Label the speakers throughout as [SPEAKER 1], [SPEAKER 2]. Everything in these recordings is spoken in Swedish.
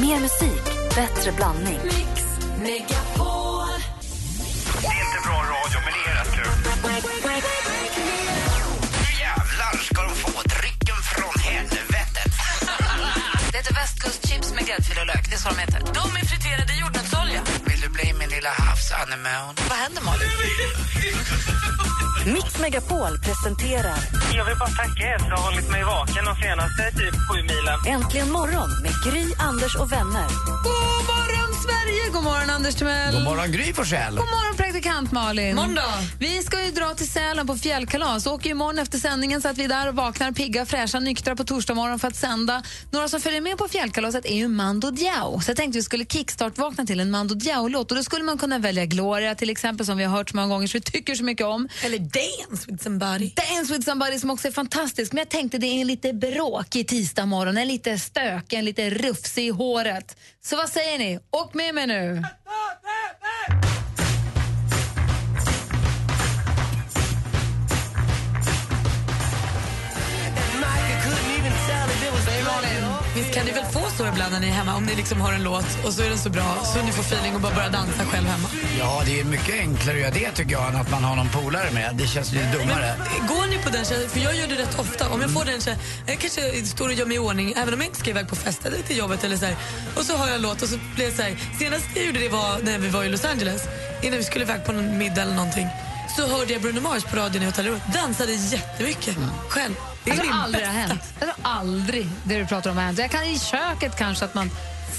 [SPEAKER 1] Mer musik, bättre blandning.
[SPEAKER 2] Mix Megapol.
[SPEAKER 3] Inte bra radio, men det är rätt kul. Nu jävlar ska de få drycken från helvetet.
[SPEAKER 4] Det heter västkustchips med gräddfil och lök. Det är så de heter. De är friterade i jordnötsolja.
[SPEAKER 3] Vill du bli min lilla havsanemon?
[SPEAKER 4] Vad händer, Malin?
[SPEAKER 1] Mix Megapol presenterar
[SPEAKER 5] Jag vill bara tacka er för att ha hållit mig vaken de senaste typ sju milen.
[SPEAKER 1] Äntligen morgon med Gry, Anders och vänner.
[SPEAKER 6] God morgon, Sverige! God morgon, Anders Timell!
[SPEAKER 7] God morgon, Gry Forssell.
[SPEAKER 6] God morgon, praktikant Malin.
[SPEAKER 4] Måndag.
[SPEAKER 6] Vi ska ju dra till Sälen på fjällkalas. Åker imorgon efter sändningen så att vi är där och vaknar pigga, fräscha, nyktra på torsdag morgon för att sända. Några som följer med på fjällkalaset är ju Mando Diao. Så jag tänkte vi skulle kickstart-vakna till en Mando Diao-låt. Och då skulle man kunna välja Gloria till exempel som vi har hört så många gånger så vi tycker så mycket om.
[SPEAKER 4] Eller dance with somebody.
[SPEAKER 6] Dance with somebody som också är fantastisk. Men jag tänkte det är en lite bråkig tisdag morgon. En lite stökig, en lite rufsig i håret. Så vad säger ni? Åk med mig nu!
[SPEAKER 4] Visst kan ni väl få så ibland när ni är hemma, om ni liksom hör en låt och så är den så bra så ni får feeling och bara börjar dansa själv hemma.
[SPEAKER 7] Ja, det är mycket enklare att göra det tycker jag än att man har någon polare med. Det känns lite dummare.
[SPEAKER 4] Går ni på den tjejen, för jag gör det rätt ofta, om jag får den tjejen, jag kanske står och gör mig i ordning även om jag inte ska iväg på fest eller till jobbet eller så här. Och så hör jag en låt och så blir jag så här, senast jag gjorde det var när vi var i Los Angeles, innan vi skulle iväg på någon middag eller någonting. Så hörde jag Bruno Mars på radion i hotellrummet, dansade jättemycket själv. Det är
[SPEAKER 6] Jag tror Mm. Alltså, aldrig
[SPEAKER 4] min
[SPEAKER 6] det har
[SPEAKER 4] bästa.
[SPEAKER 6] hänt. Jag tror aldrig det du pratar om har hänt. Jag kan i köket kanske att man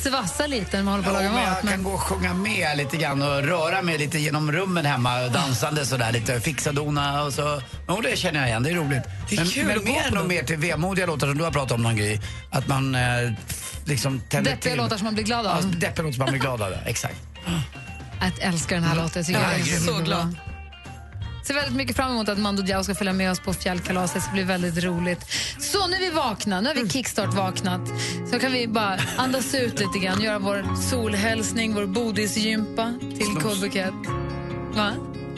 [SPEAKER 6] svassar lite när man håller på
[SPEAKER 7] Jo,
[SPEAKER 6] att laga
[SPEAKER 7] men jag
[SPEAKER 6] mat.
[SPEAKER 7] kan
[SPEAKER 6] Men
[SPEAKER 7] gå och sjunga med lite grann och röra mig lite genom rummen hemma, dansande sådär lite, fixa dona och så. Jo, det känner jag igen, det är roligt.
[SPEAKER 4] Det är
[SPEAKER 7] men
[SPEAKER 4] kul
[SPEAKER 7] men
[SPEAKER 4] att gå
[SPEAKER 7] mer
[SPEAKER 4] på
[SPEAKER 7] nog
[SPEAKER 4] dem.
[SPEAKER 7] mer till vemodiga låtar som du har pratat om någon grej. Att man eh, liksom tänder
[SPEAKER 6] deppiga
[SPEAKER 7] till.
[SPEAKER 6] låtar som man blir glad
[SPEAKER 7] Ja,
[SPEAKER 6] av.
[SPEAKER 7] deppiga låtar som man blir glad av, ja. exakt.
[SPEAKER 6] Att älska den här låten. tycker
[SPEAKER 4] Ja,
[SPEAKER 6] jag
[SPEAKER 4] jag är så
[SPEAKER 6] bra.
[SPEAKER 4] glad.
[SPEAKER 6] Ser väldigt mycket fram emot att Mando Diao ska följa med oss på fjällkalaset. Det ska bli väldigt roligt. Så nu är vi vakna. Nu har vi kickstart-vaknat. Så kan vi bara andas ut lite grann. Göra vår solhälsning, vår bodisgympa till
[SPEAKER 7] Snus.
[SPEAKER 6] Kullbukett. Va?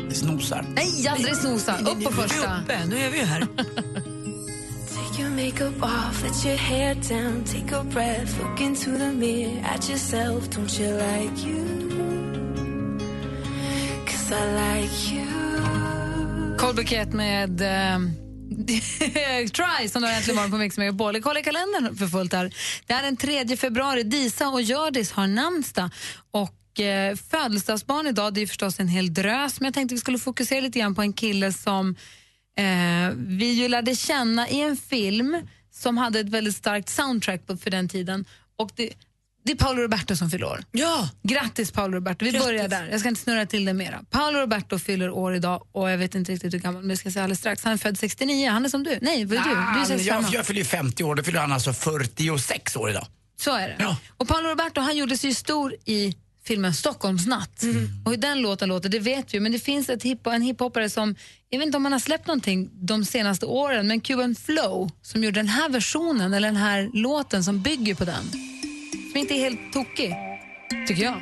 [SPEAKER 7] Det snosar.
[SPEAKER 6] Nej, aldrig snosa. Upp på
[SPEAKER 4] Nu är vi
[SPEAKER 6] första.
[SPEAKER 4] Uppe. Nu är vi ju här.
[SPEAKER 2] Take your makeup off, let your hair down, take a breath, look into the mirror at yourself. Don't you like you? Cause I like you.
[SPEAKER 6] Kolbuket med ehm, Try som du har äntligen morgon på Mix Megapol. Kolla i kalendern för fullt här. Det är den 3 februari. Disa och Hjördis har namnsdag. Och eh, födelsedagsbarn idag, det är ju förstås en hel drös men jag tänkte vi skulle fokusera lite grann på en kille som eh, vi ju lärde känna i en film som hade ett väldigt starkt soundtrack på, för den tiden. Och det, det är Paolo Roberto som fyller år.
[SPEAKER 4] Ja,
[SPEAKER 6] Grattis Paolo Roberto. Vi
[SPEAKER 4] Grattis.
[SPEAKER 6] börjar där. Jag ska inte snurra till det mera. Paolo Roberto fyller år idag och jag vet inte riktigt hur gammal, men jag ska säga alldeles strax. Han är född 69, han är som du. Nej, vad är du? Du är
[SPEAKER 7] Ah,
[SPEAKER 6] 65
[SPEAKER 7] jag,
[SPEAKER 6] år.
[SPEAKER 7] jag fyller ju 50 år, då fyller han alltså 46 år idag.
[SPEAKER 6] Så är det.
[SPEAKER 7] Ja.
[SPEAKER 6] Och Paolo Roberto han gjorde sig ju stor i filmen Stockholmsnatt.
[SPEAKER 7] Mm.
[SPEAKER 6] Och hur den låten låter, det vet vi ju, men det finns ett hip en hiphoppare som, jag vet inte om han har släppt någonting de senaste åren, men Cuban Flow som gjorde den här versionen, eller den här låten som bygger på den. Som inte är helt tokig, tycker jag.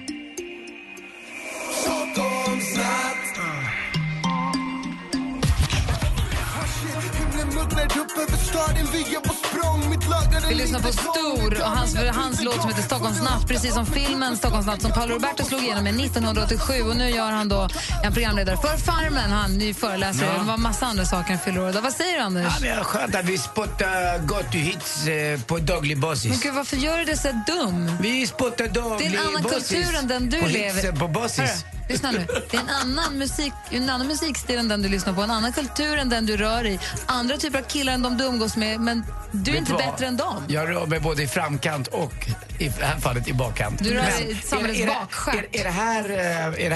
[SPEAKER 6] Vi lyssnar på Stor och hans, hans låt som heter Stockholmsnatt precis som filmen Stockholmsnatt som Paolo Roberto slog igenom med 1987. Och nu gör han då en programledare för Farmen. Han är ny föreläsare. Det var massa andra saker han fyller år idag. Vad säger du, Anders?
[SPEAKER 7] Ja, men det är skönt att vi spottar gott hits eh, på daglig basis.
[SPEAKER 6] Men gud, varför gör du det så här dum?
[SPEAKER 7] Vi spottar
[SPEAKER 6] Det
[SPEAKER 7] daglig
[SPEAKER 6] är en annan
[SPEAKER 7] basis
[SPEAKER 6] kultur än den du
[SPEAKER 7] på
[SPEAKER 6] lever
[SPEAKER 7] hitsen på basis.
[SPEAKER 6] Hörru, lyssna nu. Det är en annan, musik, en annan musikstil än den du lyssnar på, en annan kultur än den du rör i, andra typer av killar än de du umgås med, men du är
[SPEAKER 7] Vet
[SPEAKER 6] inte
[SPEAKER 7] du vad?
[SPEAKER 6] bättre än dem.
[SPEAKER 7] Jag rör mig både i framkant och i det här fallet i bakkant.
[SPEAKER 6] Du rör
[SPEAKER 7] Men
[SPEAKER 6] dig i samhällets
[SPEAKER 7] är det-
[SPEAKER 6] bakskärm.
[SPEAKER 7] Är, är, det här, eh, är det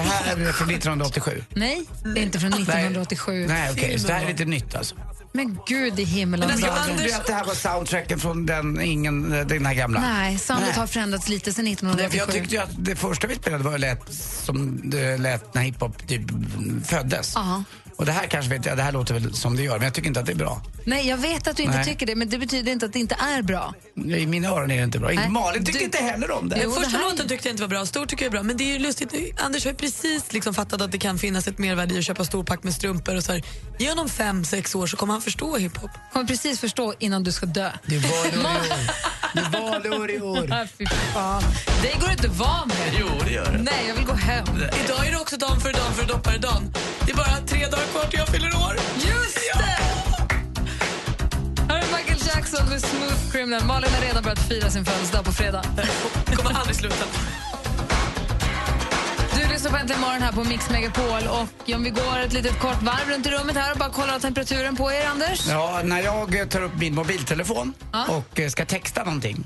[SPEAKER 7] här från 1987?
[SPEAKER 6] Nej, det är inte från 1987.
[SPEAKER 7] Nej, okej. Så det här är lite nytt alltså.
[SPEAKER 6] Men gud i himmelen.
[SPEAKER 4] Men
[SPEAKER 6] Anders.
[SPEAKER 4] alltså,
[SPEAKER 7] Jag trodde att det här var soundtracken från den, ingen, den här gamla.
[SPEAKER 6] Nej, soundet
[SPEAKER 7] Nej.
[SPEAKER 6] har förändrats lite sedan
[SPEAKER 7] Nej, för
[SPEAKER 6] 1987.
[SPEAKER 7] Jag tyckte ju att det första vi spelade var lät som det lät när hiphop typ föddes.
[SPEAKER 6] Ja.
[SPEAKER 7] Och det här kanske vet jag, det här låter väl som det gör, men jag tycker inte att det är bra.
[SPEAKER 6] Nej, jag vet att du inte
[SPEAKER 7] Nej.
[SPEAKER 6] tycker det, men det betyder inte att det inte är bra.
[SPEAKER 7] I mina öron är det inte bra.
[SPEAKER 6] Nej.
[SPEAKER 7] Malin tyckte
[SPEAKER 6] Du-
[SPEAKER 7] inte heller om det.
[SPEAKER 6] Jo, det
[SPEAKER 4] Första
[SPEAKER 6] här är-
[SPEAKER 4] låten tyckte jag inte var bra, stor tycker jag är bra. Men det är ju lustigt, Anders har ju precis liksom fattat att det kan finnas ett mervärde i att köpa storpack med strumpor och så här. Ge honom fem, sex år så kommer han förstå hiphop.
[SPEAKER 6] Kommer precis förstå innan du ska dö.
[SPEAKER 7] Det var nog- Det är valår i år.
[SPEAKER 6] Ah, fy fan. Det går inte att vara med.
[SPEAKER 7] Jo, det gör det.
[SPEAKER 6] Nej, jag vill gå hem.
[SPEAKER 4] Idag är det också dan för dan för doppare dan. Det är bara tre dagar kvar till jag fyller år.
[SPEAKER 6] Just det! Här är Michael Jackson med Smooth Criminal. Malin har redan börjat fira sin födelsedag på fredag.
[SPEAKER 4] Kommer aldrig sluta.
[SPEAKER 6] Du lyssnar på Äntligen morgon här på Mix Megapol. Och om vi går ett litet kort varv runt i rummet här och bara kollar temperaturen på er, Anders.
[SPEAKER 7] Ja, när jag eh, tar upp min mobiltelefon
[SPEAKER 6] Ja.
[SPEAKER 7] och eh, ska texta någonting.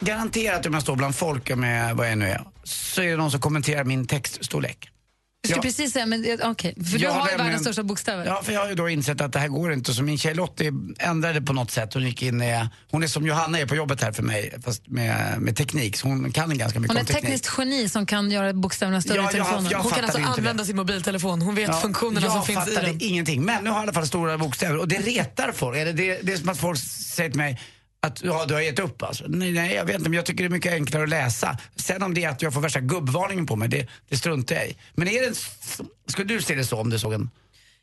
[SPEAKER 7] Garanterat om jag står bland folk med vad jag nu är, så är det någon som kommenterar min textstorlek.
[SPEAKER 6] Du ska
[SPEAKER 7] Ja.
[SPEAKER 6] precis säga, men okej. För du
[SPEAKER 7] Jag
[SPEAKER 6] har ju
[SPEAKER 7] nämligen-
[SPEAKER 6] världens största bokstäver.
[SPEAKER 7] Ja, för jag har ju då insett att det här går inte. Så min tjej Lottie ändrade på något sätt. Hon gick in i, hon är som Johanna är på jobbet här för mig, fast med, med teknik. Så hon kan ganska mycket
[SPEAKER 6] Hon är
[SPEAKER 7] om
[SPEAKER 6] ett
[SPEAKER 7] teknik.
[SPEAKER 6] tekniskt geni som kan göra bokstäverna större
[SPEAKER 7] Ja,
[SPEAKER 6] i telefonen.
[SPEAKER 7] jag
[SPEAKER 4] Hon kan
[SPEAKER 7] fattar
[SPEAKER 4] alltså
[SPEAKER 7] inte det.
[SPEAKER 4] använda sin mobiltelefon. Hon vet funktionerna
[SPEAKER 7] jag
[SPEAKER 4] som finns i
[SPEAKER 7] fattade
[SPEAKER 4] den.
[SPEAKER 7] ingenting. Men nu har jag i alla fall stora bokstäver och det retar folk. Eller det, det är som att folk säger till mig att ja, du har gett upp alltså. Nej, nej, jag vet inte, men jag tycker det är mycket enklare att läsa. Sen om det är att jag får värsta gubbvarningen på mig, det, det struntar jag i. Men är det, en- skulle du se det så om du såg en?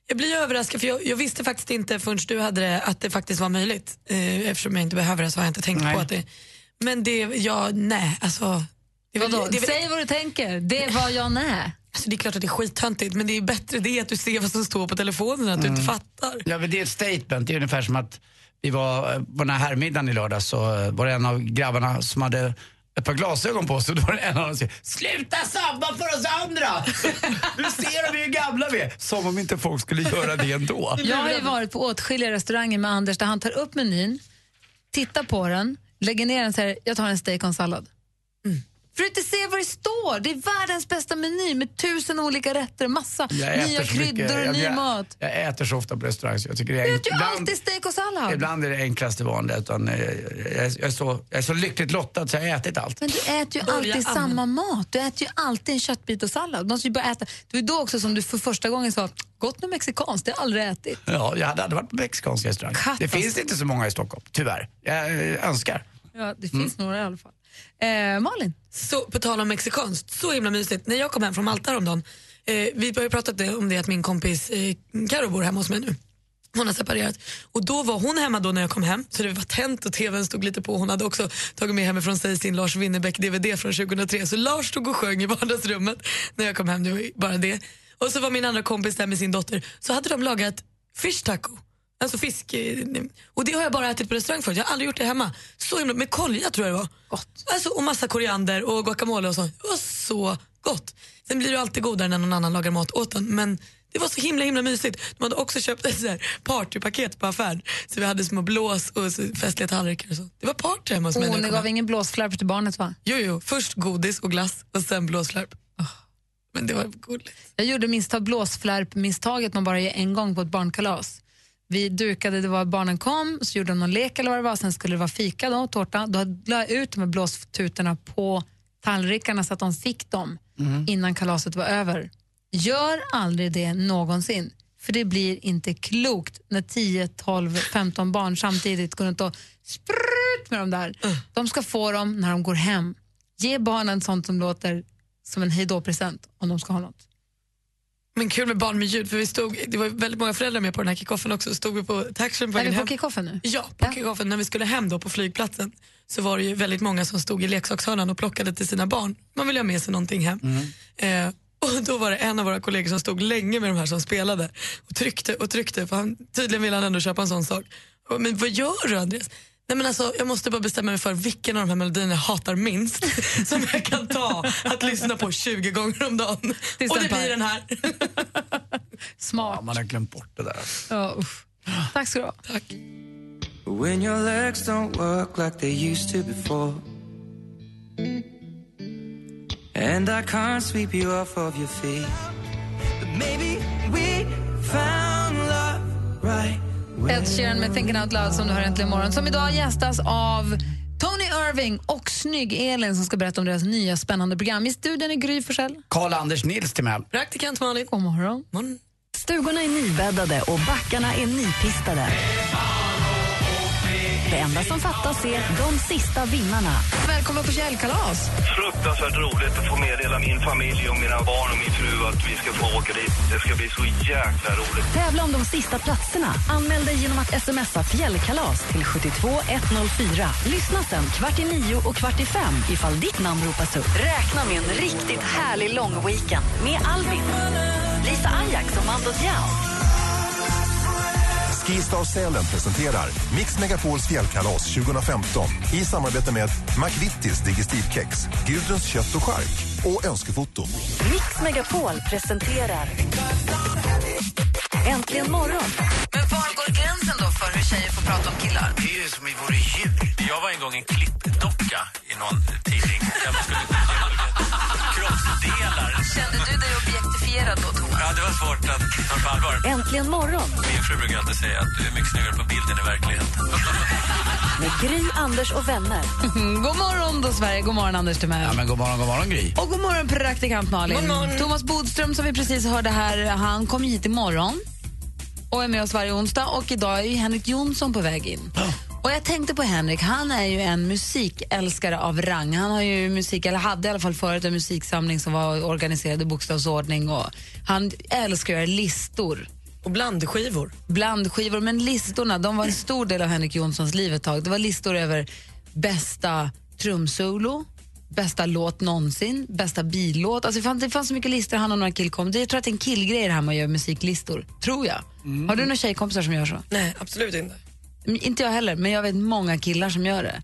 [SPEAKER 4] Jag blir överraskad för jag, jag visste faktiskt inte förrän du hade det att det faktiskt var möjligt. Eh, eftersom jag inte behöver det så har jag inte tänkt
[SPEAKER 7] Nej.
[SPEAKER 4] på att det... Men det, ja, nej alltså. Det är, väl,
[SPEAKER 6] Vadå?
[SPEAKER 4] det, är väl,
[SPEAKER 6] Säg vad du tänker. Det var jag nä.
[SPEAKER 4] alltså, det är klart att det är skittöntigt men det är bättre det att du ser vad som står på telefonen än att du inte fattar.
[SPEAKER 7] Ja, men det är ett statement. Det är ungefär som att vi var eh, på den här herrmiddagen i lördags så eh, var det en av grabbarna som hade ett par glasögon på sig och då var det en av dem som säger Sluta sabba för oss andra! Du ser hur vi är gamla vi är! Som om inte folk skulle göra det ändå.
[SPEAKER 6] Jag har ju varit på åtskilliga restauranger med Anders där han tar upp menyn, tittar på den, lägger ner den och säger jag tar en steak och en sallad.
[SPEAKER 7] Mm.
[SPEAKER 6] För att inte se vad det står. Det är världens bästa meny med tusen olika rätter, massa
[SPEAKER 7] Jag äter
[SPEAKER 6] nya
[SPEAKER 7] så mycket.
[SPEAKER 6] kryddor
[SPEAKER 7] Jag-
[SPEAKER 6] och ny
[SPEAKER 7] jag,
[SPEAKER 6] mat.
[SPEAKER 7] Jag äter så ofta på restaurang så jag tycker det är
[SPEAKER 6] Du äter ju
[SPEAKER 7] ibland-
[SPEAKER 6] alltid steak och sallad.
[SPEAKER 7] Ibland är det enklaste vanliga. Utan eh, jag, jag, jag, är så, jag är så lyckligt lottad så jag har ätit allt.
[SPEAKER 6] Men du äter ju
[SPEAKER 4] Börja
[SPEAKER 6] alltid
[SPEAKER 4] använda-
[SPEAKER 6] samma mat. Du äter ju alltid en köttbit och sallad. Du måste ju börja äta. Det var ju då också som du för första gången sa gott med mexikanskt, det har jag aldrig ätit.
[SPEAKER 7] Ja, jag hade aldrig varit på mexikansk restaurang. Det
[SPEAKER 6] Katastrof.
[SPEAKER 7] finns inte så många i Stockholm, tyvärr. Jag eh, önskar.
[SPEAKER 6] Ja, det finns några i alla fall. Eh, Malin?
[SPEAKER 4] Så, på tal om mexikanskt, så himla mysigt. När jag kom hem från Malta häromdagen, eh, vi har ju pratat det- om det att min kompis eh, Karo bor hemma hos mig nu. Hon har separerat. Och då var hon hemma då när jag kom hem, så det var tänt och tvn stod lite på. Hon hade också tagit med hemifrån sig sin Lars Winnerbäck-DVD från 2003, så Lars stod och sjöng i vardagsrummet när jag kom hem. Det var ju bara det. Och så var min andra kompis där med sin dotter, så hade de lagat fish taco. Alltså fisk. eh, Och det har jag bara ätit på restaurang förut, jag har aldrig gjort det hemma. Så himla, med kolja tror jag det var. Gott. Alltså, och massa koriander och guacamole och sånt. Det var så gott. Sen blir det ju alltid godare när någon annan lagar mat åt en, men det var så himla himla mysigt. De hade också köpt ett så här partypaket på affären. Så vi hade små blås och så festliga tallrikar och så. Det var party hemma hos mig. när
[SPEAKER 6] Oh,
[SPEAKER 4] jag
[SPEAKER 6] ni
[SPEAKER 4] kom
[SPEAKER 6] gav
[SPEAKER 4] hem.
[SPEAKER 6] ingen blåsflärp till barnet va?
[SPEAKER 4] Jo, jo. Först godis och glass och sen blåsflärp. Ah, Men det var gulligt.
[SPEAKER 6] Jag gjorde misstag, blåsflärp-misstaget man bara gör en gång på ett barnkalas. Vi dukade, det var barnen kom, så gjorde de någon lek eller vad det var, sen skulle det vara fika då, tårta. Då la jag ut de här blåstutorna på tallrikarna så att de fick dem innan kalaset var över. Gör aldrig det någonsin, för det blir inte klokt när 10, 12, 15 barn samtidigt går runt och sprut med dem där. De ska få dem när de går hem. Ge barnen sånt som låter som en hejdå-present om de ska ha något.
[SPEAKER 4] Men kul med barn med ljud, för vi stod, det var väldigt många föräldrar med på den här kickoffen också. Stod vi på taxin på
[SPEAKER 6] Är
[SPEAKER 4] vägen
[SPEAKER 6] vi på
[SPEAKER 4] hem.
[SPEAKER 6] kickoffen nu?
[SPEAKER 4] Ja, på
[SPEAKER 6] Ja.
[SPEAKER 4] kickoffen när vi skulle hem då på flygplatsen så var det ju väldigt många som stod i leksakshörnan och plockade till sina barn. Man ville ha med sig någonting hem. Eh, och då var det en av våra kollegor som stod länge med de här som spelade och tryckte och tryckte för han, tydligen ville han ändå köpa en sån sak. Och, Men vad gör du Andreas? Nej, men alltså, jag måste bara bestämma mig för vilken av de här melodierna jag hatar minst som jag kan ta att lyssna på 20 gånger om dagen.
[SPEAKER 6] Tills
[SPEAKER 4] Och det
[SPEAKER 6] den tar.
[SPEAKER 4] blir den här.
[SPEAKER 7] Ja,
[SPEAKER 6] Smart.
[SPEAKER 7] man har glömt bort det där.
[SPEAKER 6] Ja, usch. Tack ska du ha.
[SPEAKER 4] Tack.
[SPEAKER 8] When your legs don't work like they used to before. And I can't sweep you off of your feet. But maybe we found love right
[SPEAKER 6] Ed Sheeran med Thinking Out Loud som du hör äntligen imorgon. Som idag gästas av Tony Irving och snygg-Elin som ska berätta om deras nya spännande program. I studion är Gry Forssell.
[SPEAKER 7] Karl-Anders Nils till mig.
[SPEAKER 4] Praktikant Malin.
[SPEAKER 6] God morgon.
[SPEAKER 4] Morgon.
[SPEAKER 1] Stugorna är nybäddade och backarna är nypistade. Det enda som fattas är de sista vinnarna.
[SPEAKER 6] Välkomna på fjällkalas.
[SPEAKER 5] Fruktansvärt roligt att få meddela min familj och mina barn och min fru att vi ska få åka dit. Det ska bli så jäkla roligt.
[SPEAKER 1] Tävla om de sista platserna. Anmäl dig genom att smsa fjällkalas till 72104. Lyssna sen kvart i nio och kvart i fem ifall ditt namn ropas upp. Räkna med en riktigt härlig långweekend med Albin, Lisa Ajax och Mando Diao.
[SPEAKER 9] Skistar Sälen presenterar Mix Megapols fjällkalas 2015 i samarbete med McVittys Digestivkex, Gudruns kött och skark och Önskefoto.
[SPEAKER 1] Mix Megapol presenterar Äntligen morgon
[SPEAKER 10] Men var går gränsen då för hur tjejer får prata om killar?
[SPEAKER 3] Det är ju som i vore djur.
[SPEAKER 11] Jag var en gång en klippdocka i någon tidning. Där man skulle kroppsdelar.
[SPEAKER 10] Kände du dig objektifierad då, Thomas?
[SPEAKER 11] Ja, det var svårt att ta på allvar.
[SPEAKER 1] Äntligen morgon
[SPEAKER 11] Min fru brukar alltid säga att du är mycket snyggare på bilden i verkligheten.
[SPEAKER 1] med Gry, Anders och vänner.
[SPEAKER 6] God morgon då Sverige, god morgon Anders Timell.
[SPEAKER 7] Ja, men god morgon, god morgon Gry.
[SPEAKER 6] Och god morgon praktikant Malin. Thomas Bodström som vi precis hörde här, han kom hit imorgon och är med oss varje onsdag och idag är ju Henrik Jonsson på väg in. Och jag tänkte på Henrik, han är ju en musikälskare av rang. Han har ju musik, eller hade i alla fall förut en musiksamling som var organiserad i bokstavsordning och han älskar att göra listor.
[SPEAKER 12] Och blandskivor.
[SPEAKER 6] blandskivor, men listorna de var en stor del av Henrik Jonssons liv ett tag. Det var listor över bästa trumsolo, bästa låt någonsin, bästa billåt. Alltså det, fanns, det fanns så mycket listor han och några killkom. Det, jag tror att det är en killgrej det här med att göra musiklistor. Tror jag. Har du några tjejkompisar som gör så?
[SPEAKER 12] Nej, absolut inte.
[SPEAKER 6] Mm, Inte jag heller, men jag vet många killar som gör det.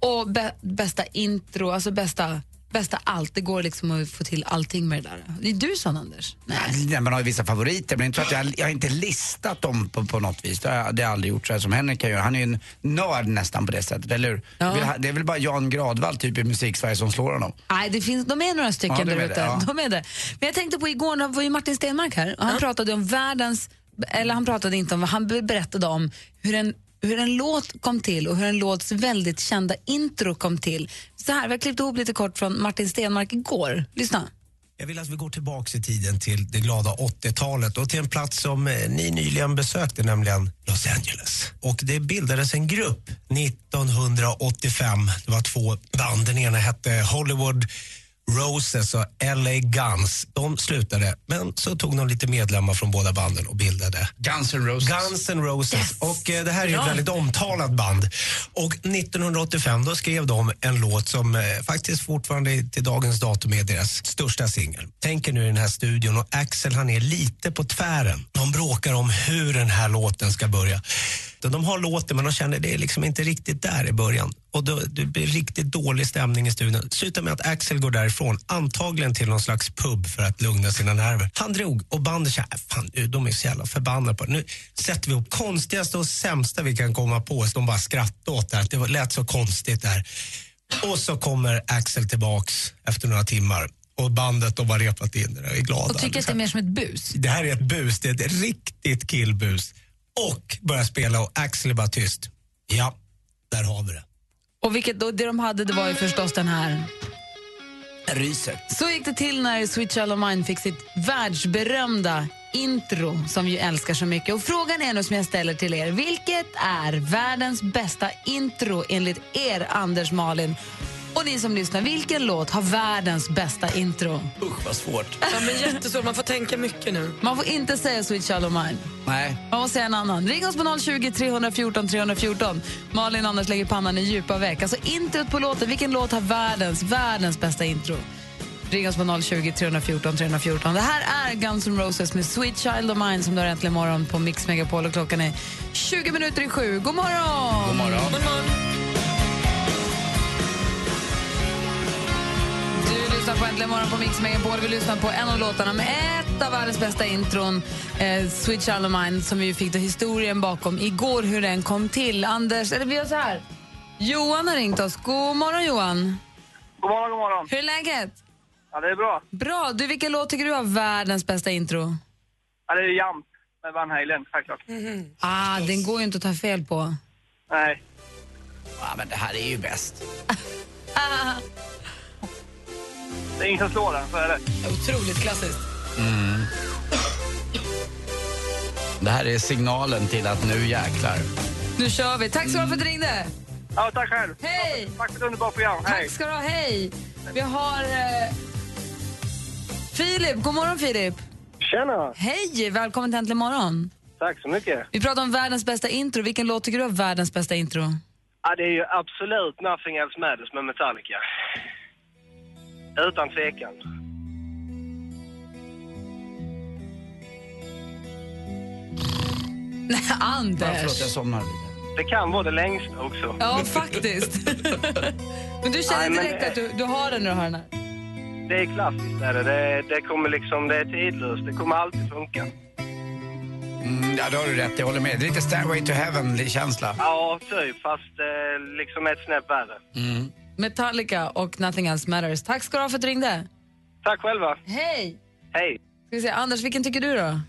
[SPEAKER 6] Och bä- bästa intro, alltså bästa, bästa allt. Det går liksom att få till allting med det där. Är du sån, Anders?
[SPEAKER 7] Nej, man har ju vissa favoriter men inte så att jag, jag har inte listat dem på, på något vis. Det har, jag, det har jag aldrig gjort så här som Henrik kan göra. Han är ju en nörd nästan på det sättet, eller hur?
[SPEAKER 6] Ja.
[SPEAKER 7] Det, är väl, det är väl bara Jan Gradvall typ i musik-Sverige som slår honom.
[SPEAKER 6] Nej, det finns, de är några stycken
[SPEAKER 7] Ja, de är
[SPEAKER 6] där
[SPEAKER 7] det,
[SPEAKER 6] ute.
[SPEAKER 7] ja.
[SPEAKER 6] De är det. Men jag tänkte på igår, när var ju Martin Stenmark här och han pratade om världens, eller han pratade inte om, vad han berättade om hur en, hur en låt kom till och hur en låts väldigt kända intro kom till. Så här, vi har klippt ihop lite kort från Martin Stenmark igår. Lyssna.
[SPEAKER 11] Jag vill att vi går tillbaka i tiden till det glada 80-talet och till en plats som eh, ni nyligen besökte, nämligen Los Angeles. Och det bildades en grupp 1985. Det var två band. Den ena hette Hollywood Roses och LA Guns. De slutade, men så tog de lite medlemmar från båda banden och bildade
[SPEAKER 7] Guns N' Roses.
[SPEAKER 11] Guns N' Roses. Och eh, det här är ju ett väldigt omtalat band. Och 1985 då skrev de en låt som eh, faktiskt fortfarande till dagens datum är deras största singel. Tänk er nu i den här studion och Axel han är lite på tvären. De bråkar om hur den här låten ska börja. De har låten men de känner det är liksom inte riktigt där i början. Och då, det blir riktigt dålig stämning i studion. Slutar med att Axel går därifrån, antagligen till någon slags pub för att lugna sina nerver. Han drog och bandet sa, "Äh, fan nu, de är så jävla förbannade på det. Nu sätter vi upp konstigaste och sämsta vi kan komma på. Så de bara skrattade åt det här, att det var- lät så konstigt där. Och så kommer Axel tillbaks efter några timmar och bandet de har repat in det där och är glada.
[SPEAKER 6] Och tycker att det är mer som ett bus.
[SPEAKER 11] Det här är ett bus, det är ett riktigt killbus. Och börjar spela och Axel är bara tyst. Ja, där har vi det.
[SPEAKER 6] Och vilket då, det de hade det var ju förstås den här.
[SPEAKER 7] Ryset.
[SPEAKER 6] Så gick det till när Sweet Child of Mine fick sitt världsberömda intro som vi ju älskar så mycket. Och frågan är nu som jag ställer till er, vilket är världens bästa intro enligt er Anders Malin? Och ni som lyssnar, vilken låt har världens bästa intro?
[SPEAKER 7] Usch vad svårt.
[SPEAKER 12] Ja, men jättesvårt, man får tänka mycket nu.
[SPEAKER 6] Man får inte säga Sweet Child of Mine.
[SPEAKER 7] Nej.
[SPEAKER 6] Man måste säga en annan. Ring oss på 020 314 314. Malin och Anders lägger pannan i djupa veck. Alltså introt på låten. Vilken låt har världens, världens bästa intro? Ring oss på 020 314 314. Det här är Guns N' Roses med Sweet Child of Mine som du har äntligen morgon på Mix Megapol och klockan är 20 minuter i sju. God morgon!
[SPEAKER 7] God morgon.
[SPEAKER 6] Du lyssnar på Äntligen morgon på Mix Megapol. Vi lyssnar på en av låtarna med ett av världens bästa intron, eh, Sweet Child of Mine, som vi ju fick då historien bakom igår, hur den kom till. Anders, eller vi gör så här. Johan har ringt oss. God morgon, Johan.
[SPEAKER 5] God morgon, god morgon.
[SPEAKER 6] Hur är läget?
[SPEAKER 5] Ja, det är bra.
[SPEAKER 6] Bra. Du, vilken låt tycker du har världens bästa intro?
[SPEAKER 5] Ja, det är Jump med Van Halen, självklart.
[SPEAKER 6] Ah, den går ju inte att ta fel på.
[SPEAKER 5] Nej.
[SPEAKER 7] Ja, men det här är ju bäst.
[SPEAKER 5] Det är ingen som slår den, så är det.
[SPEAKER 12] Otroligt klassiskt.
[SPEAKER 7] Det här är signalen till att nu jäklar.
[SPEAKER 6] Nu kör vi. Tack så mycket för att du
[SPEAKER 12] Mm.
[SPEAKER 6] ringde.
[SPEAKER 13] Ja, tack själv.
[SPEAKER 6] Hej!
[SPEAKER 13] Tack för ett underbart program. Hej.
[SPEAKER 6] Tack ska du ha. Hej! Vi har eh, Filip. God morgon, Filip.
[SPEAKER 11] Tjena!
[SPEAKER 6] Hej! Välkommen till Äntligen morgon.
[SPEAKER 11] Tack så mycket.
[SPEAKER 6] Vi pratar om världens bästa intro. Vilken låt tycker du är världens bästa intro?
[SPEAKER 11] Ja, det är ju absolut Nothing Else Matters med Metallica. Utan tvekan.
[SPEAKER 6] Nej, Anders!
[SPEAKER 7] förlåt, jag somnade lite.
[SPEAKER 11] Det kan vara det längsta också.
[SPEAKER 6] Ja, faktiskt. men du
[SPEAKER 11] Nej,
[SPEAKER 6] känner
[SPEAKER 11] men-
[SPEAKER 6] direkt att du, du har den när du hör den här.
[SPEAKER 11] Det är klassiskt, det är det. det. Det kommer liksom, det är tidlöst. Det kommer alltid funka.
[SPEAKER 7] Mm, ja, det har du rätt Jag håller med. Det är lite Stairway to Heaven-känsla.
[SPEAKER 11] Ja, typ. Fast eh, liksom ett snäpp värre.
[SPEAKER 7] Mm.
[SPEAKER 6] Metallica och Nothing Else Matters. Tack ska du ha för att du ringde.
[SPEAKER 11] Tack själva.
[SPEAKER 6] Hej!
[SPEAKER 11] Hej.
[SPEAKER 6] Ska vi se, Anders, vilken tycker du då?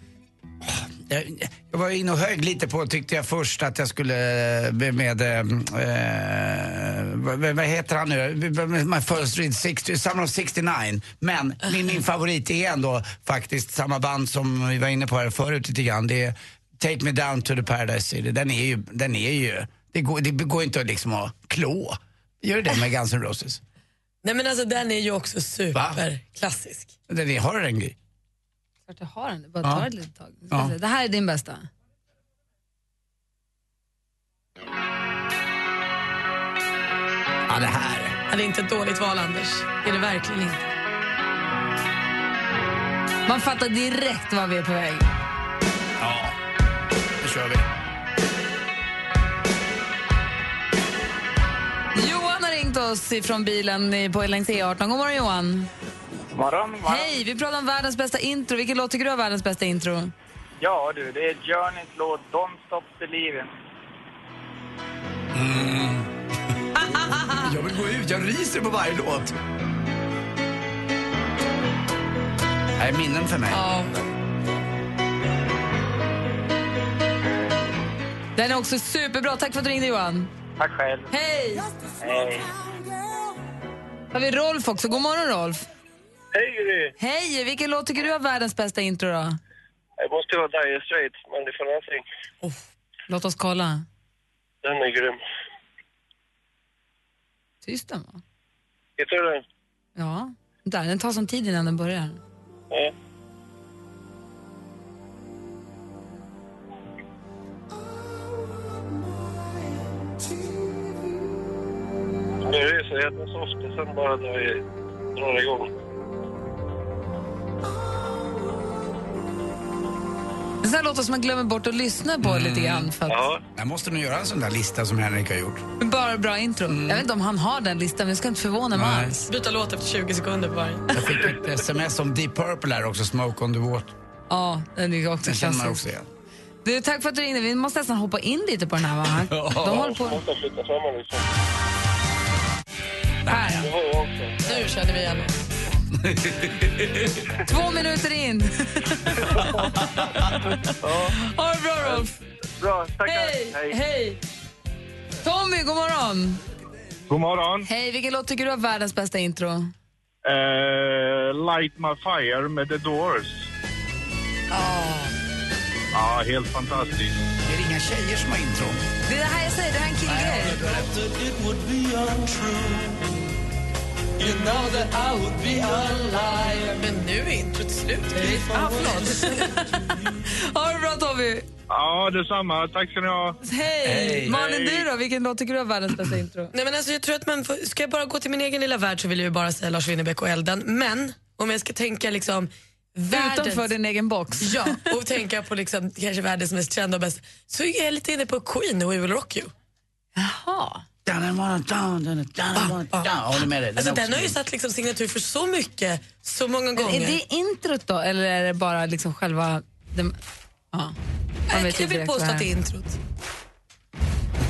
[SPEAKER 7] Jag, jag var inne och högg lite på, tyckte jag först, att jag skulle eh, med... med eh, vad, vad heter han nu? My first read 60, Summer of 69. Men min, min favorit är ändå faktiskt samma band som vi var inne på här förut lite grann. Det är Take Me Down to the Paradise City. Den är ju... Den är ju det, går, det går inte att liksom att klå. Gör det det med Guns N' Roses?
[SPEAKER 4] Nej men alltså den är ju också superklassisk.
[SPEAKER 7] Den är, har du den Gry?
[SPEAKER 6] Klart jag har den, det bara
[SPEAKER 7] Ja.
[SPEAKER 6] tar ett litet tag. Ska
[SPEAKER 7] Ja.
[SPEAKER 6] vi se, Det här är din bästa.
[SPEAKER 7] Ja, det här.
[SPEAKER 4] Ja, det är inte ett dåligt val Anders. Det är det verkligen inte.
[SPEAKER 6] Man fattar direkt var vi är på väg.
[SPEAKER 7] Ja, nu kör vi.
[SPEAKER 6] Johan har ringt oss ifrån bilen i- på längs E18. God morgon Johan.
[SPEAKER 14] Morgon, morgon.
[SPEAKER 6] Hej, vi pratar om världens bästa intro. Vilken låt tycker du är världens bästa intro?
[SPEAKER 14] Ja du, det är Journeys låt Don't Stop Believin'.
[SPEAKER 7] Jag vill gå ut, jag ryser på varje låt. Det här är minnen för mig.
[SPEAKER 6] Ja. Den är också superbra. Tack för att du ringde Johan.
[SPEAKER 14] Tack själv.
[SPEAKER 6] Hej!
[SPEAKER 14] Hej.
[SPEAKER 6] Har vi Rolf också. God morgon Rolf.
[SPEAKER 15] Hej Gry!
[SPEAKER 6] Hej, vilken låt tycker du är världens bästa intro då?
[SPEAKER 15] Det måste vara Dire Straits, men det får någonting.
[SPEAKER 6] Låt oss kolla.
[SPEAKER 15] Den är grym.
[SPEAKER 6] Tyst den va?
[SPEAKER 15] Hittar du den?
[SPEAKER 6] Ja. Där, den tar som tid innan den börjar.
[SPEAKER 15] Ja. Nu ryser jag jävla soft, sen bara drar vi- drar det igång.
[SPEAKER 6] Det är sån här låt som man glömmer bort att lyssna på
[SPEAKER 7] Mm.
[SPEAKER 6] lite grann. För att...
[SPEAKER 7] Jag måste nog göra en sån där lista som Henrik har gjort.
[SPEAKER 6] Men Bara bra intro. Jag vet inte om han har den listan, men jag ska inte förvåna mig
[SPEAKER 7] Mm. Nej.
[SPEAKER 6] alls.
[SPEAKER 4] Byta låt efter 20 sekunder på varje.
[SPEAKER 7] Jag fick ett sms om Deep Purple här också, Smoke on the Water.
[SPEAKER 6] Ja, den är också
[SPEAKER 7] Den känner man
[SPEAKER 6] klassisk.
[SPEAKER 7] också igen.
[SPEAKER 6] Du, tack för att du ringde. Vi måste nästan hoppa in lite på den här, va? De håller på...
[SPEAKER 15] Måste flytta fram den liksom.
[SPEAKER 6] Här.
[SPEAKER 15] Det har jag också.
[SPEAKER 4] Nu känner vi igen oss.
[SPEAKER 6] Två minuter in. ha det bra, Rolf.
[SPEAKER 15] Bra, tackar.
[SPEAKER 6] Hej.
[SPEAKER 15] Hej.
[SPEAKER 6] Hej. Tommy, god morgon.
[SPEAKER 8] God morgon.
[SPEAKER 6] Hej, vilken låt tycker du är världens bästa intro?
[SPEAKER 8] Eh, Light My Fire med The Doors. Ja, helt fantastiskt.
[SPEAKER 7] Det är inga tjejer som har intro.
[SPEAKER 6] Det är det här jag säger, det här är en killgrej.
[SPEAKER 4] Men nu är introt slut. Ah,
[SPEAKER 6] Ja, förlåt. ha det bra, Tommy.
[SPEAKER 8] Ja, detsamma. Tack ska ni ha.
[SPEAKER 6] Hej. Malin, du då? Vilken låt tycker du är världens bästa intro?
[SPEAKER 4] Nej, men alltså, jag tror att man får, ska jag bara gå till min egen lilla värld så vill jag ju bara säga Lars Winnerbäck och elden. Men om jag ska tänka liksom världens...
[SPEAKER 6] Utanför din egen box.
[SPEAKER 4] Ja, och tänka på liksom, kanske världens mest kända och bästa. Så är jag lite inne på Queen och We Will Rock You.
[SPEAKER 6] Jaha.
[SPEAKER 7] Jag håller med dig.
[SPEAKER 4] Alltså,
[SPEAKER 7] är
[SPEAKER 4] den
[SPEAKER 7] också
[SPEAKER 4] har ju
[SPEAKER 7] grym.
[SPEAKER 4] satt liksom signatur för så mycket, så många
[SPEAKER 6] Men
[SPEAKER 4] gånger.
[SPEAKER 6] är det introt då, eller är det bara liksom själva... Den... Ja. Man
[SPEAKER 4] jag
[SPEAKER 6] vet ju
[SPEAKER 4] jag vill
[SPEAKER 6] direkt
[SPEAKER 4] påstå
[SPEAKER 6] vad
[SPEAKER 4] att det är introt.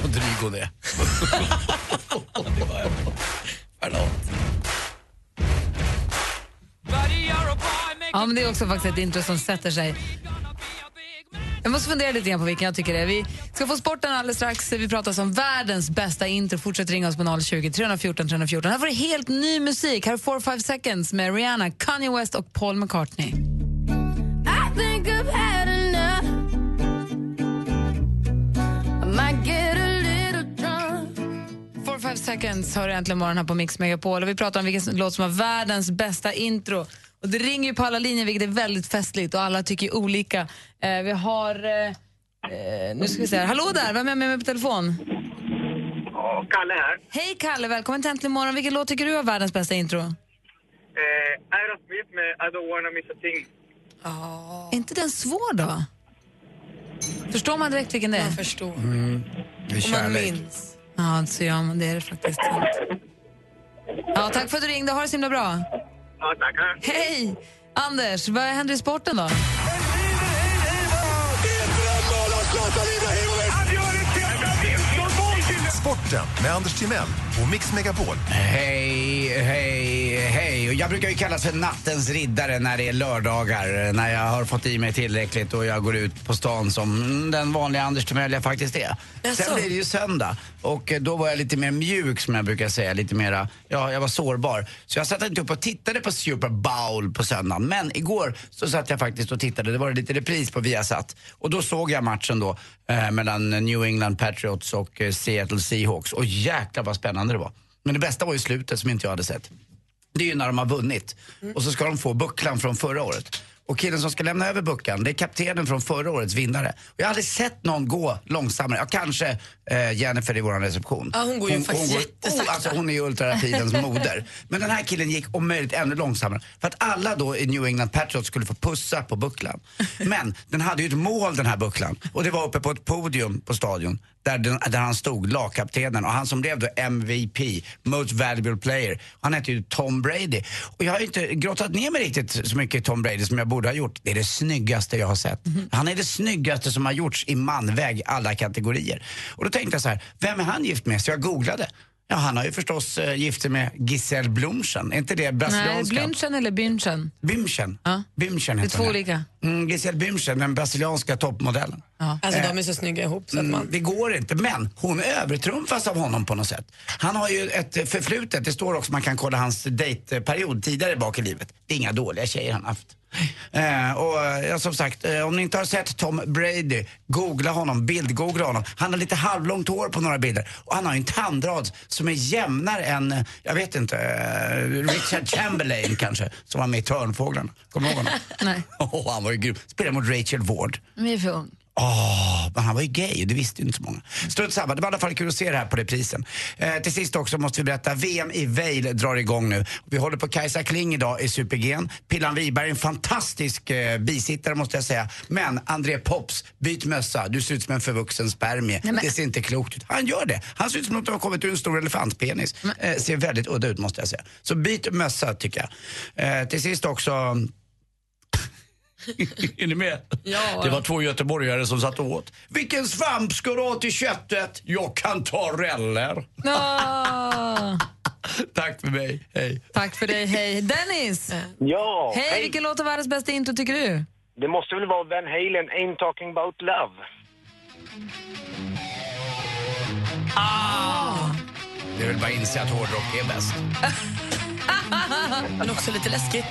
[SPEAKER 7] Vad dryg hon är.
[SPEAKER 6] Ja, men det är också faktiskt ett intro som sätter sig. Jag måste fundera lite grann på vilken jag tycker det är. Vi ska få sporten alldeles strax. Vi pratar om världens bästa intro. Fortsätt ringa oss på 020 314 314. Här får du helt ny musik. Här är 4-5 seconds med Rihanna, Kanye West och Paul McCartney.
[SPEAKER 16] I think I've had enough. I might get
[SPEAKER 6] 12 seconds har du äntligen morgon här på Mix Megapol och vi pratar om vilken låt som har världens bästa intro. Och det ringer ju på alla linjer vilket är väldigt festligt och alla tycker ju olika. Eh, vi har, eh, eh, nu ska vi se här, hallå där, vem är med mig på telefon?
[SPEAKER 17] Ja, Kalle här.
[SPEAKER 6] Hej Kalle, välkommen till Äntligen morgon. Vilken låt tycker du har världens bästa intro?
[SPEAKER 17] Eh, Aerosmith med I don't wanna miss a thing.
[SPEAKER 6] Är inte den svår då? Förstår man direkt vilken det är? Man
[SPEAKER 12] förstår.
[SPEAKER 7] Mm. Det är kärlek.
[SPEAKER 6] Ja, så gör man det är det faktiskt. Ja, tack för att du ringde, ha det så himla bra.
[SPEAKER 17] Ja, tackar.
[SPEAKER 6] Hej! Anders, vad händer i sporten då?
[SPEAKER 9] Sporten med Anders Timell och Mix Megapol.
[SPEAKER 7] Hej, hej, hej. Och Jag brukar ju kallas för nattens riddare när det är lördagar. När jag har fått i mig tillräckligt och jag går ut på stan som mm, den vanliga Anders Timell jag faktiskt är. Sen blir det ju söndag och eh, då var jag lite mer mjuk som jag brukar säga. Lite mera, ja, jag var sårbar. Så jag satt inte upp och tittade på Super Bowl på söndagen. Men igår så satt jag faktiskt och tittade. Det var lite repris på Viasat. Och då såg jag matchen då eh, mellan New England Patriots och eh, Seattle Seahawks. Och jäklar vad spännande det var. Men det bästa var ju slutet som inte jag hade sett. Det är ju när de har vunnit.
[SPEAKER 12] Mm.
[SPEAKER 7] Och så ska de få bucklan från förra året. Och killen som ska lämna över bucklan, det är kaptenen från förra årets vinnare. Och jag har aldrig sett någon gå långsammare. Ja, kanske eh, Jennifer i vår reception.
[SPEAKER 12] Ja, hon går ju faktiskt jättesakta.
[SPEAKER 7] Oh, alltså hon är ju ultrarapidens moder. Men den här killen gick om möjligt ännu långsammare. För att alla då i New England Patriots skulle få pussa på bucklan. Men den hade ju ett mål den här bucklan. Och det var uppe på ett podium på stadion. Där, den, där han stod, lagkaptenen. Och han som blev då MVP, Most Valuable Player. Han hette ju Tom Brady. Och jag har ju inte grottat ner mig riktigt så mycket i Tom Brady som jag borde ha gjort. Det är det snyggaste jag har sett. Han är det snyggaste som har gjorts i manväg, alla kategorier. Och då tänkte jag så här, vem är han gift med? Så jag googlade. Ja, han har ju förstås eh, gift sig med Giselle Blumchen. Är inte det
[SPEAKER 6] Nej,
[SPEAKER 7] brasilianska?
[SPEAKER 6] Blünchen eller Bünchen?
[SPEAKER 7] Bümchen. Bümchen
[SPEAKER 6] Det är
[SPEAKER 7] heter
[SPEAKER 6] två
[SPEAKER 7] hon.
[SPEAKER 6] olika.
[SPEAKER 7] Mm, Giselle Bündchen, den brasilianska toppmodellen.
[SPEAKER 12] Alltså de är så snygga ihop så att man...
[SPEAKER 7] Mm, det går inte, men hon övertrumfas av honom på något sätt. Han har ju ett förflutet, det står också, man kan kolla hans dejtperiod tidigare bak i livet. Det är inga dåliga tjejer han haft. Eh, och eh, ja, som sagt, eh, om ni inte har sett Tom Brady, googla honom, bildgoogla honom. Han har lite halvlångt hår på några bilder och han har ju en tandrad som är jämnare än, eh, jag vet inte, eh, Richard Chamberlain kanske, som var med i Törnfåglarna. Kommer du ihåg honom?
[SPEAKER 6] Nej,
[SPEAKER 7] Åh, han var ju grym. Spelade mot Rachel Ward.
[SPEAKER 6] men jag är för ung.
[SPEAKER 7] Åh, Ah, men han var ju gay och det visste ju inte så många. Strunt samma, det var i alla fall kul att se det här på reprisen. Eh, till sist också måste vi berätta, VM i Vail drar igång nu. Vi håller på Kajsa Kling idag i Supergen. Pillan Wiberg är en fantastisk eh, bisittare måste jag säga. Men André Pops, byt mössa, du ser ut som en förvuxen spermie.
[SPEAKER 6] Nej, men-
[SPEAKER 7] Det ser inte klokt ut. Han gör det. Han ser ut som att han har kommit ur en stor elefantpenis. Eh, ser väldigt udda ut måste jag säga. Så byt mössa tycker jag. Eh, till sist också... är ni med?
[SPEAKER 12] Ja.
[SPEAKER 7] Det var två göteborgare som satt och åt. Vilken svamp ska du ha till köttet? Jag kan ta reller.
[SPEAKER 6] Nå.
[SPEAKER 7] Tack för mig. Hej.
[SPEAKER 6] Tack för dig, hej. Dennis!
[SPEAKER 18] Ja,
[SPEAKER 6] Hej, vilken låt har världens bästa intro tycker du?
[SPEAKER 18] Det måste väl vara Van Halen, Ain't Talking About Love.
[SPEAKER 7] Det är väl bara att inse att hårdrock är bäst.
[SPEAKER 12] Men också lite läskigt.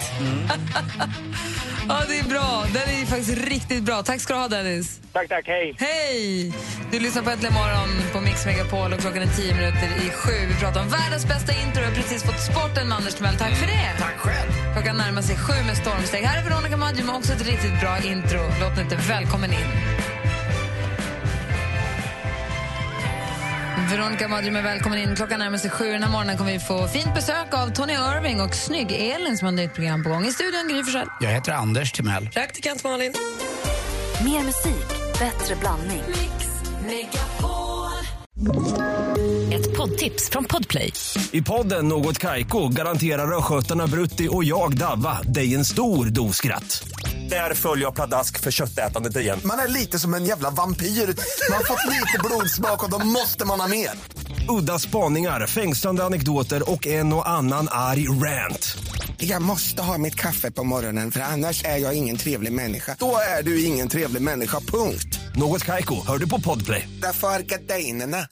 [SPEAKER 6] Ja, det är bra. Den är faktiskt riktigt bra. Tack ska du ha, Dennis.
[SPEAKER 18] Tack, tack. Hej.
[SPEAKER 6] Hej! Du lyssnar på Äntligen morgon på Mix Megapol och klockan är tio minuter i sju. Vi pratar om världens bästa intro. Jag har precis fått sporten med Anders Timell. Tack för det.
[SPEAKER 7] Tack själv.
[SPEAKER 6] Klockan närmar sig sju med stormsteg. Här är Veronica Maggio med också ett riktigt bra intro. Låt mig inte välkommen in. Veronica Maggio med Välkommen in. Klockan närmar sig sju. Den här morgonen kommer vi få fint besök av Tony Irving och snygg-Elin som har ett nytt program på gång. I studion Gry Forssell.
[SPEAKER 7] Jag heter Anders Timell.
[SPEAKER 12] Praktikant Malin.
[SPEAKER 1] Mer musik, bättre blandning. Ett poddtips från Podplay.
[SPEAKER 19] I podden Något Kaiko garanterar östgötarna Brutti och jag, Davva, dig en stor dos skratt. Där följer jag pladask för köttätandet igen.
[SPEAKER 20] Man är lite som en jävla vampyr. Man har fått lite blodsmak och då måste man ha mer.
[SPEAKER 19] Udda spaningar, fängslande anekdoter och en och annan arg rant.
[SPEAKER 20] Jag måste ha mitt kaffe på morgonen för annars är jag ingen trevlig människa. Då är du ingen trevlig människa, punkt.
[SPEAKER 19] Något Kaiko, hör du på podplay.
[SPEAKER 20] Därför arkadeinerna.